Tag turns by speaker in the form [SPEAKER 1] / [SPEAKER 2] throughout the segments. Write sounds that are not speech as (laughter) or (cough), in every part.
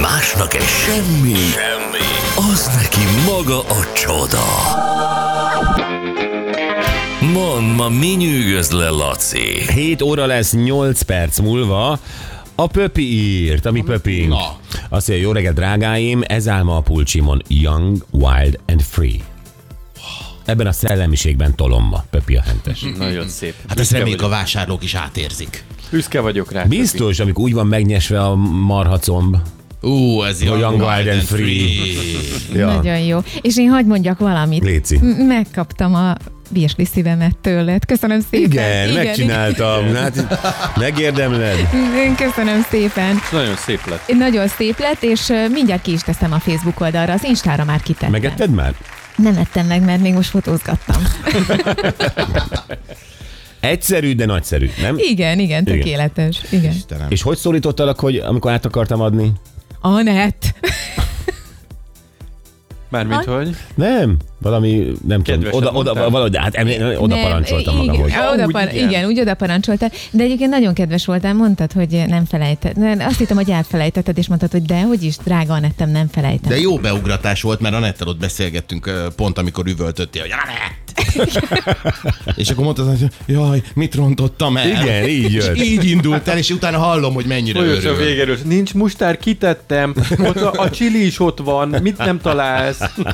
[SPEAKER 1] Másnak egy semmi, semmi, az neki maga a csoda. Mond, ma mi nyűgöz le, Laci?
[SPEAKER 2] 7 óra lesz 8 perc múlva. A Pöpi írt, ami Pöpi.
[SPEAKER 3] Na.
[SPEAKER 2] Azt mondja, jó reggelt, drágáim, ez álma a pulcsimon. Young, wild and free. Ebben a szellemiségben tolomba, Pöpi a hentes. (laughs)
[SPEAKER 4] Nagyon szép. Hát
[SPEAKER 3] Hát ezt reméljük a vásárlók is átérzik.
[SPEAKER 4] Büszke vagyok rá.
[SPEAKER 2] Biztos, amikor úgy van megnyesve a marhacomb.
[SPEAKER 3] Ú, ez jó.
[SPEAKER 2] Young, wild and free.
[SPEAKER 5] Nagyon Hm. jó. És én hagyd mondjak valamit.
[SPEAKER 2] Léci.
[SPEAKER 5] M- Megkaptam a virsli szívemet tőled. Köszönöm szépen.
[SPEAKER 2] Igen, megcsináltam. Hát, megérdemled.
[SPEAKER 5] igen. Köszönöm szépen.
[SPEAKER 4] Pöpi. Nagyon szép lett.
[SPEAKER 5] Nagyon szép lett, és ö, mindjárt ki is teszem a Facebook oldalra, az Instára már kitettem.
[SPEAKER 2] Megetted már?
[SPEAKER 5] Nem ettem meg, mert még most fotózgattam.
[SPEAKER 2] Egyszerű, de nagyszerű, nem?
[SPEAKER 5] Igen, igen, tökéletes. Igen.
[SPEAKER 3] Istenem.
[SPEAKER 2] És hogy szólítottalak, hogy amikor át akartam adni?
[SPEAKER 5] Anett.
[SPEAKER 4] Mármint, hogy?
[SPEAKER 2] Nem, valami, nem
[SPEAKER 4] Kedvesen
[SPEAKER 2] tudom, oda, oda,
[SPEAKER 4] mondtál.
[SPEAKER 2] valahogy, hát emlé- oda
[SPEAKER 5] Nem,
[SPEAKER 2] parancsoltam
[SPEAKER 5] igen,
[SPEAKER 2] magam, hogy
[SPEAKER 5] Oda
[SPEAKER 4] Úgy,
[SPEAKER 5] par-
[SPEAKER 4] igen.
[SPEAKER 5] igen. igen, úgy oda parancsoltál. De egyébként nagyon kedves voltál, mondtad, hogy nem felejtett. Nem, Azt hittem, hogy elfelejtetted, és mondtad, hogy de, hogy is, drága Anettem, nem felejtettem.
[SPEAKER 3] De jó beugratás volt, mert Anettel ott beszélgettünk ö, pont, amikor üvöltöttél, hogy
[SPEAKER 2] (laughs)
[SPEAKER 3] Anett! és akkor mondtad, hogy jaj, mit rontottam el?
[SPEAKER 2] Igen, így jött.
[SPEAKER 3] És így indult el, és utána hallom, hogy mennyire
[SPEAKER 4] Folyos a
[SPEAKER 3] örül.
[SPEAKER 4] végerős. Nincs mustár, kitettem. Ott a, a csili is ott van. Mit nem találsz?
[SPEAKER 5] (laughs)
[SPEAKER 2] (laughs)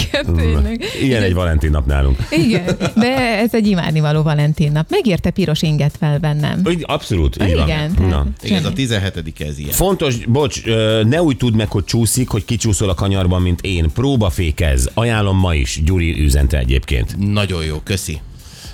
[SPEAKER 5] Igen, tényleg.
[SPEAKER 2] ilyen egy Valentin nap nálunk.
[SPEAKER 5] Igen, de ez egy imádnivaló Valentin nap. Megérte piros inget fel bennem.
[SPEAKER 2] Úgy, Abszolút, így
[SPEAKER 5] Igen,
[SPEAKER 2] van.
[SPEAKER 5] tehát
[SPEAKER 2] Na.
[SPEAKER 3] Igen, ez a
[SPEAKER 5] semmi.
[SPEAKER 3] 17 ez ilyen.
[SPEAKER 2] Fontos, bocs, ö, ne úgy tudd meg, hogy csúszik, hogy kicsúszol a kanyarban, mint én. Próbafékez. Ajánlom ma is. Gyuri üzente egyébként.
[SPEAKER 3] Nagyon jó, köszi.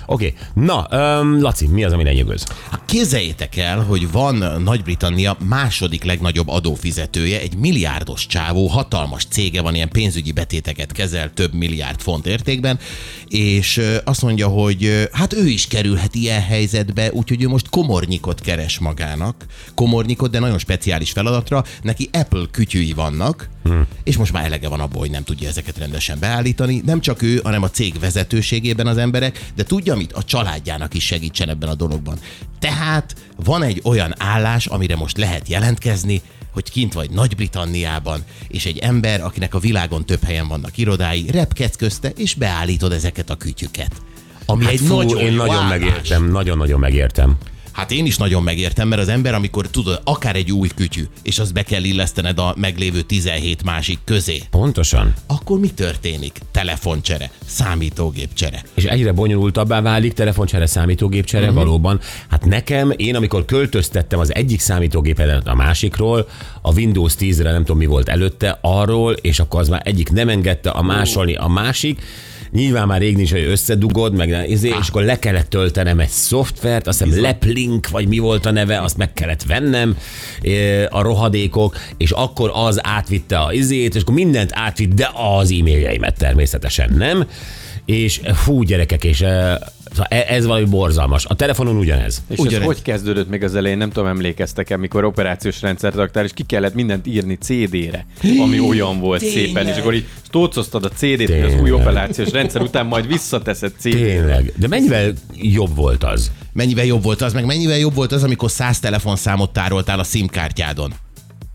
[SPEAKER 2] Oké. Okay. Na, um, Laci, mi az, ami lenyűgöz?
[SPEAKER 3] Hát Képzeljétek el, hogy van Nagy-Britannia második legnagyobb adófizetője, egy milliárdos csávó, hatalmas cége van, ilyen pénzügyi betéteket kezel több milliárd font értékben, és ö, azt mondja, hogy ö, hát ő is kerülhet ilyen helyzetbe, úgyhogy ő most komornyikot keres magának. Komornyikot, de nagyon speciális feladatra. Neki Apple kütyűi vannak,
[SPEAKER 2] Hm.
[SPEAKER 3] hmm. és most már elege van abból, hogy nem tudja ezeket rendesen beállítani. Nem csak ő, hanem a cég vezetőségében az emberek, de tudja mit? A családjának is segítsen ebben a dologban. Tehát van egy olyan állás, amire most lehet jelentkezni, hogy kint vagy Nagy-Britanniában, és egy ember, akinek a világon több helyen vannak irodái, repkedsz közte, és beállítod ezeket a kütyüket. Ami hát egy
[SPEAKER 2] Fú,
[SPEAKER 3] nagyon
[SPEAKER 2] én
[SPEAKER 3] jó
[SPEAKER 2] nagyon
[SPEAKER 3] állás.
[SPEAKER 2] megértem, nagyon-nagyon megértem.
[SPEAKER 3] Hát én is nagyon megértem, mert az ember, amikor tudod, akár egy új kütyű, és azt be kell illesztened a meglévő 17 másik közé,
[SPEAKER 2] Pontosan.
[SPEAKER 3] akkor mi történik? Telefoncsere, számítógépcsere.
[SPEAKER 2] és egyre bonyolultabbá válik, telefoncsere, számítógépcsere, uh-huh. valóban. Hát nekem, én amikor költöztettem az egyik számítógépedet a másikról, a Windows 10-re nem tudom mi volt előtte, arról, és akkor az már egyik nem engedte a másolni a másik, Nyilván már rég nincs, hogy összedugod, meg ne- izé, és akkor le kellett töltenem egy szoftvert, azt hiszem Leplink, vagy mi volt a neve, azt meg kellett vennem, ö, a rohadékok, és akkor az átvitte a izét, és akkor mindent átvitt, de az e-mailjeimet természetesen nem. És fú, gyerekek, és e, szóval e- ez valami borzalmas. A telefonon ugyanez.
[SPEAKER 4] És ez
[SPEAKER 3] Ugyanez.
[SPEAKER 4] hogy kezdődött még az elején, nem tudom, emlékeztek-e, mikor operációs rendszert raktál, és ki kellett mindent írni CD-re, ami olyan volt Tényleg. szépen, és akkor így tócoztad a CD-t, hogy az új
[SPEAKER 2] Tényleg.
[SPEAKER 4] operációs rendszer után majd visszateszed CD-re.
[SPEAKER 2] Tényleg. De mennyivel jobb volt az?
[SPEAKER 3] Mennyivel jobb volt az, meg mennyivel jobb volt az, amikor 100 telefonszámot tároltál a SIM-kártyádon,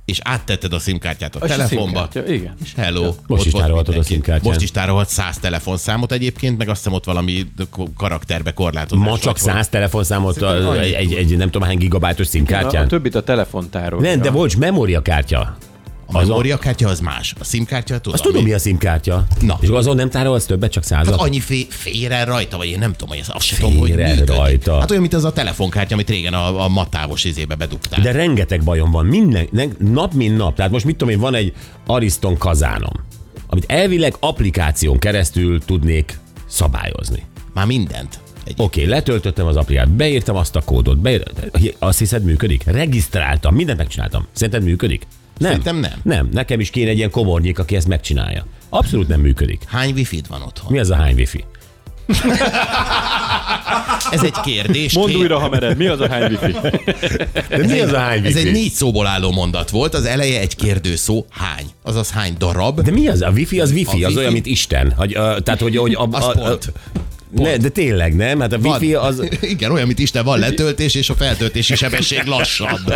[SPEAKER 3] és áttetted a SIM-kártyát a,
[SPEAKER 4] És a
[SPEAKER 3] telefonba.
[SPEAKER 4] SIM-kártya, Igen.
[SPEAKER 3] És hello. Most
[SPEAKER 2] is tárolhatod a SIM-kártyán.
[SPEAKER 3] Most is tárolhat 100 telefonszámot egyébként, meg azt hiszem ott valami karakterbe korlátozás.
[SPEAKER 2] Ma
[SPEAKER 3] vagy
[SPEAKER 2] csak
[SPEAKER 3] valami.
[SPEAKER 2] száz telefonszámot
[SPEAKER 3] Szerintem hát,
[SPEAKER 2] a- egy,
[SPEAKER 3] annyit
[SPEAKER 2] egy, egy, nem tudom hány gigabájtos
[SPEAKER 4] A, a
[SPEAKER 2] szimkártyán.
[SPEAKER 4] többit a telefontárolja.
[SPEAKER 2] Nem, de volt memóriakártya.
[SPEAKER 3] A memóriakártya az más. A SIM-kártya tudod.
[SPEAKER 2] Azt tudom, mi a szimkártya.
[SPEAKER 3] Na. Hát
[SPEAKER 2] És akkor azon nem tárolsz többet, csak százat?
[SPEAKER 3] annyi fé, fér el rajta, vagy én nem tudom, hogy ez azt sem tudom, hogy
[SPEAKER 2] Fér el
[SPEAKER 3] működik.
[SPEAKER 2] rajta.
[SPEAKER 3] Hát olyan, mint az a telefonkártya, amit régen a, a matávos izébe bedugtál.
[SPEAKER 2] De rengeteg bajom van, minden, ne- nap mint nap. Tehát most mit tudom én, van egy Ariston kazánom, amit elvileg applikáción keresztül tudnék szabályozni.
[SPEAKER 3] Már mindent. Egy
[SPEAKER 2] Oké, okay, letöltöttem az aplikát, beírtam azt a kódot, beír... azt hiszed működik? Regisztráltam, mindent megcsináltam. Szerinted működik? Nem.
[SPEAKER 3] Szerintem nem.
[SPEAKER 2] Nem, nekem is kéne egy ilyen komornyék, aki ezt megcsinálja. Abszolút nem működik.
[SPEAKER 3] Hány wifi van otthon?
[SPEAKER 2] Mi ez a hány wifi?
[SPEAKER 3] Ez egy kérdés.
[SPEAKER 4] Mondd
[SPEAKER 3] Két-
[SPEAKER 4] újra, ha mered, mi az a hány wifi?
[SPEAKER 2] De mi az a hány
[SPEAKER 3] Ez
[SPEAKER 2] wifi?
[SPEAKER 3] egy négy szóból álló mondat volt, az eleje egy kérdőszó, hány, azaz hány darab.
[SPEAKER 2] De mi az? A wifi az wifi,
[SPEAKER 3] A
[SPEAKER 2] az
[SPEAKER 3] wifi?
[SPEAKER 2] olyan, mint Isten. Hogy, uh, tehát, hogy, hogy a,
[SPEAKER 3] Az
[SPEAKER 2] a, a,
[SPEAKER 3] pont.
[SPEAKER 2] Ne, de tényleg nem, hát a
[SPEAKER 3] Van.
[SPEAKER 2] wifi az,
[SPEAKER 3] (laughs) Igen, olyan, mint Isten van letöltés, és a feltöltési sebesség
[SPEAKER 2] (laughs)
[SPEAKER 3] lassabb.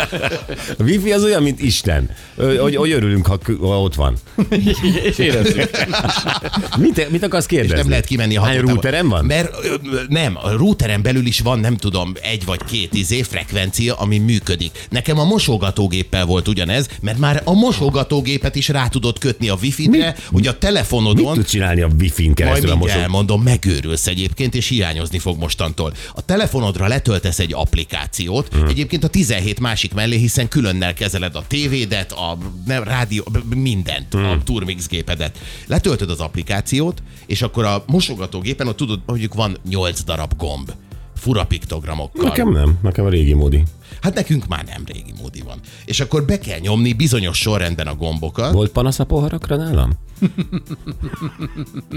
[SPEAKER 2] a wifi az olyan, mint Isten. Ö, Hogy, hogy örülünk, ha, kö- ha ott
[SPEAKER 3] (laughs)
[SPEAKER 2] van.
[SPEAKER 4] És érezzük.
[SPEAKER 2] Mit, mit akarsz
[SPEAKER 3] És
[SPEAKER 2] kérdezni?
[SPEAKER 3] nem lehet kimenni a
[SPEAKER 2] Hány
[SPEAKER 3] hatótávol.
[SPEAKER 2] routerem van?
[SPEAKER 3] Mert ö, ö, nem, a routeren belül is van, nem tudom, egy vagy két izé frekvencia, ami működik. Nekem a mosogatógéppel volt ugyanez, mert már a mosogatógépet is rá tudod kötni a wifi-re, hogy a
[SPEAKER 2] Mit
[SPEAKER 3] telefonodon
[SPEAKER 2] tud csinálni a wifi-n
[SPEAKER 3] Majd
[SPEAKER 2] keresztül a
[SPEAKER 3] mindjárt
[SPEAKER 2] mosó?
[SPEAKER 3] elmondom, megőrülsz egyébként, és hiányozni fog mostantól. A telefonodra letöltesz egy applikációt,
[SPEAKER 2] Mhm.
[SPEAKER 3] hmm. egyébként a 17 másik mellé, hiszen különnel kezeled a tévédet, a nem, rádió, b- b- mindent, hmm.
[SPEAKER 2] Mhm.
[SPEAKER 3] a Turmix gépedet. Letöltöd az applikációt, és akkor a mosogatógépen ott tudod, mondjuk van 8 darab gomb fura piktogramokkal.
[SPEAKER 2] Nekem nem, nekem a régi módi.
[SPEAKER 3] Hát nekünk már nem régi módi van. És akkor be kell nyomni bizonyos sorrendben a gombokat.
[SPEAKER 2] Volt panasz a poharakra nálam?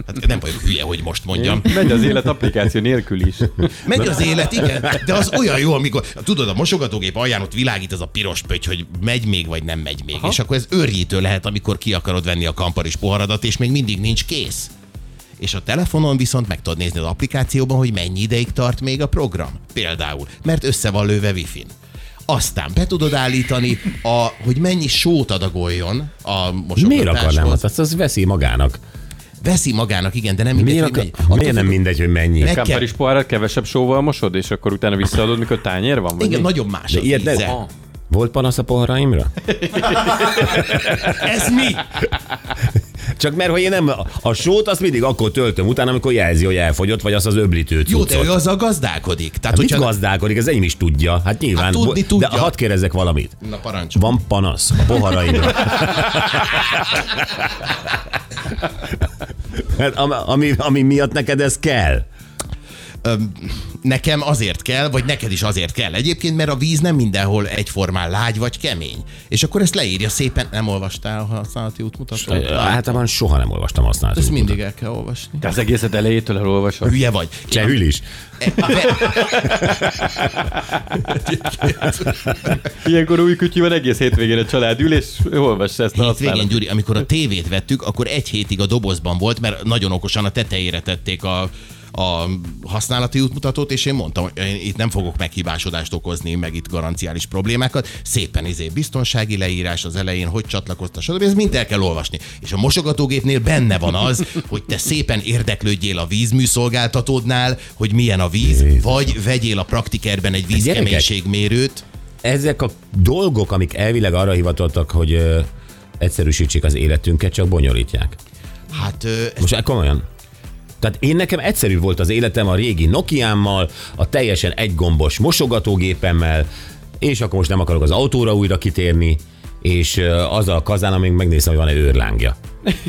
[SPEAKER 3] Hát nem vagyok hülye, hogy most mondjam.
[SPEAKER 4] Megy az élet applikáció nélkül is.
[SPEAKER 3] Megy az élet, igen, de az olyan jó, amikor tudod, a mosogatógép alján ott világít az a piros pöty, hogy megy még, vagy nem megy még. Aha. És akkor ez örjítő lehet, amikor ki akarod venni a kamparis poharadat, és még mindig nincs kész. És a telefonon viszont meg tudod nézni az applikációban, hogy mennyi ideig tart még a program. Például, mert össze van lőve wifi-n. Aztán be tudod állítani, a, hogy mennyi sót adagoljon a
[SPEAKER 2] Miért akarnám
[SPEAKER 3] mosogatáshoz.
[SPEAKER 2] azt? Azt az veszi magának.
[SPEAKER 3] Veszi magának, igen, de nem mindegy,
[SPEAKER 2] Miért,
[SPEAKER 3] hogy
[SPEAKER 2] akar...
[SPEAKER 3] mennyi. Attól
[SPEAKER 2] Miért nem
[SPEAKER 3] függ-
[SPEAKER 2] mindegy, hogy mennyi?
[SPEAKER 3] Meg-
[SPEAKER 4] Kámpár is poharat kevesebb sóval mosod, és akkor utána visszaadod, mikor tányér van? Vagy
[SPEAKER 3] Igen,
[SPEAKER 4] mi?
[SPEAKER 3] nagyon más
[SPEAKER 2] De
[SPEAKER 3] az
[SPEAKER 2] ilyet ne-
[SPEAKER 3] íze.
[SPEAKER 2] Aha. Volt panasz a poharaimra?
[SPEAKER 3] (laughs) Ez mi?
[SPEAKER 2] Csak mert, hogy én nem, a sót azt mindig akkor töltöm utána, amikor jelzi, hogy elfogyott, vagy azt az öblítőt
[SPEAKER 3] Jó, de ő azzal gazdálkodik. Tehát,
[SPEAKER 2] Hát mit
[SPEAKER 3] hogyha...
[SPEAKER 2] gazdálkodik, ez enyém is tudja. Hát nyilván.
[SPEAKER 3] Hát tudni
[SPEAKER 2] bo-
[SPEAKER 3] tudja.
[SPEAKER 2] De hadd kérdezzek valamit.
[SPEAKER 3] Na parancs.
[SPEAKER 2] Van panasz a poharaimra. Mert ami, Hát, ami, ami miatt neked ez kell.
[SPEAKER 3] Nekem azért kell, vagy neked is azért kell egyébként, mert a víz nem mindenhol egyformán lágy vagy kemény. És akkor ezt leírja szépen. Nem olvastál a használati útmutatót?
[SPEAKER 2] Általában Hát, soha nem olvastam használni.
[SPEAKER 3] Ezt mindig el kell olvasni.
[SPEAKER 4] Te az egészet elejétől elolvasod.
[SPEAKER 3] Hülye vagy. (laughs)
[SPEAKER 2] Csehül is.
[SPEAKER 3] E- ve-
[SPEAKER 4] Ilyenkor új kütyű van egész hétvégén a család ül, és ő olvassa ezt a
[SPEAKER 3] Hétvégén,
[SPEAKER 4] használatot.
[SPEAKER 3] Gyuri, amikor a tévét vettük, akkor egy hétig a dobozban volt, mert nagyon okosan a tetejére tették a a használati útmutatót, és én mondtam, hogy én itt nem fogok meghibásodást okozni, meg itt garanciális problémákat. Szépen izé biztonsági leírás az elején, hogy csatlakoztas, stb. Ez mind el kell olvasni. És a mosogatógépnél benne van az, hogy te szépen érdeklődjél a vízműszolgáltatódnál, hogy milyen a víz, vagy vegyél a praktikerben egy
[SPEAKER 2] gyerekek,
[SPEAKER 3] vízkeménységmérőt.
[SPEAKER 2] Ezek a dolgok, amik elvileg arra hivatottak, hogy ö, egyszerűsítsék az életünket, csak bonyolítják.
[SPEAKER 3] Hát ö, ez
[SPEAKER 2] Most komolyan. Tehát én nekem egyszerű volt az életem a régi Nokiámmal, a teljesen egygombos mosogatógépemmel, és akkor most nem akarok az autóra újra kitérni, és ö, az a kazán, amíg megnéztem, hogy van-e őrlángja.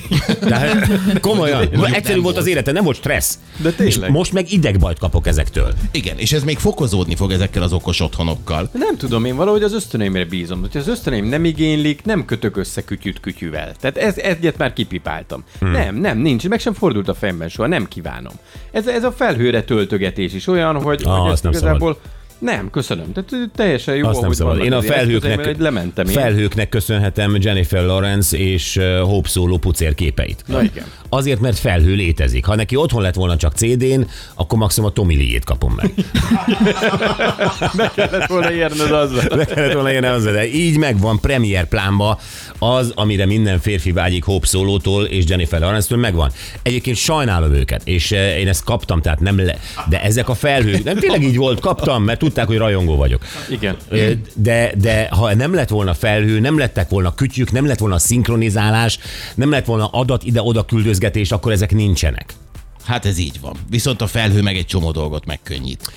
[SPEAKER 2] (laughs) Tehát komolyan,
[SPEAKER 3] nem
[SPEAKER 2] egyszerű volt
[SPEAKER 3] volt.
[SPEAKER 2] az életem, nem volt stressz.
[SPEAKER 4] De
[SPEAKER 2] És
[SPEAKER 4] tényleg.
[SPEAKER 2] most meg idegbajt kapok ezektől.
[SPEAKER 3] Igen, és ez még fokozódni fog ezekkel az okos otthonokkal.
[SPEAKER 4] Nem tudom, én valahogy az ösztöneimre bízom. Hogyha az ösztöneim nem igénylik, nem kötök össze kütyűt kütyűvel. Tehát ez, egyet már kipipáltam. Hmm. Nem, nem, nincs, meg sem fordult a fejemben soha, nem kívánom. Ez, ez a felhőre töltögetés is olyan, hogy,
[SPEAKER 2] Ah,
[SPEAKER 4] hogy
[SPEAKER 2] azt
[SPEAKER 4] ezt
[SPEAKER 2] nem szabad.
[SPEAKER 4] Nem, köszönöm. Tehát ö, teljesen jó,
[SPEAKER 2] Azt nem
[SPEAKER 4] ahogy
[SPEAKER 2] szabad.
[SPEAKER 4] vannak
[SPEAKER 2] Én a
[SPEAKER 4] az eszközeim,
[SPEAKER 2] felhőknek,
[SPEAKER 4] mert lementem én.
[SPEAKER 2] felhőknek köszönhetem Jennifer Lawrence és ö, Hope Solo pucér képeit.
[SPEAKER 4] Na igen.
[SPEAKER 2] Azért, mert felhő létezik. Ha neki otthon lett volna csak CD-n, akkor maximum a Tommy Lee-jét kapom (laughs) meg.
[SPEAKER 4] Be kellett volna érned azzal.
[SPEAKER 2] Le kellett volna ilyen az, de így megvan premier plánba az, amire minden férfi vágyik Hope Szólótól és Jennifer lawrence megvan. Egyébként sajnálom őket, és eh, én ezt kaptam, tehát nem le, de ezek a felhők, nem tényleg így volt, kaptam, mert tudták, hogy rajongó vagyok.
[SPEAKER 4] Igen.
[SPEAKER 2] Ö, De, de ha nem lett volna felhő, nem lettek volna kütyük, nem lett volna szinkronizálás, nem lett volna adat ide-oda küldözgetés, akkor ezek nincsenek.
[SPEAKER 3] Hát ez így van. Viszont a felhő meg egy csomó dolgot megkönnyít.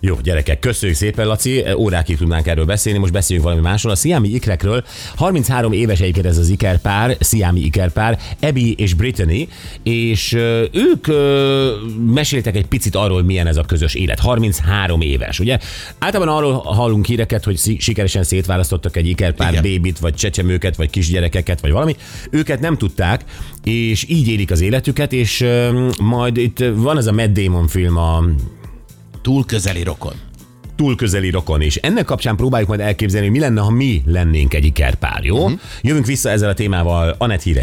[SPEAKER 2] Jó, gyerekek, köszönjük szépen, Laci. E, Órákig tudnánk erről beszélni, most beszéljünk valami másról. A sziámi ikrekről 33 éves egyébként ez az ikerpár, sziámi ikerpár, Abby és Brittany, és ö, ők ö, meséltek egy picit arról, milyen ez a közös élet. 33 éves, ugye? Általában arról hallunk híreket, hogy szi- sikeresen szétválasztottak egy ikerpár
[SPEAKER 3] Igen.
[SPEAKER 2] bébit, vagy csecsemőket, vagy kisgyerekeket, vagy valami. Őket nem tudták, és így élik az életüket, és ö, majd itt van ez a Matt Damon film, a
[SPEAKER 3] Túl közeli rokon.
[SPEAKER 2] túl közeli rokon is. Ennek kapcsán próbáljuk majd elképzelni, hogy mi lenne, ha mi lennénk egy ikerpár, jó? Uh-huh. Jövünk vissza ezzel a témával, Anett híre.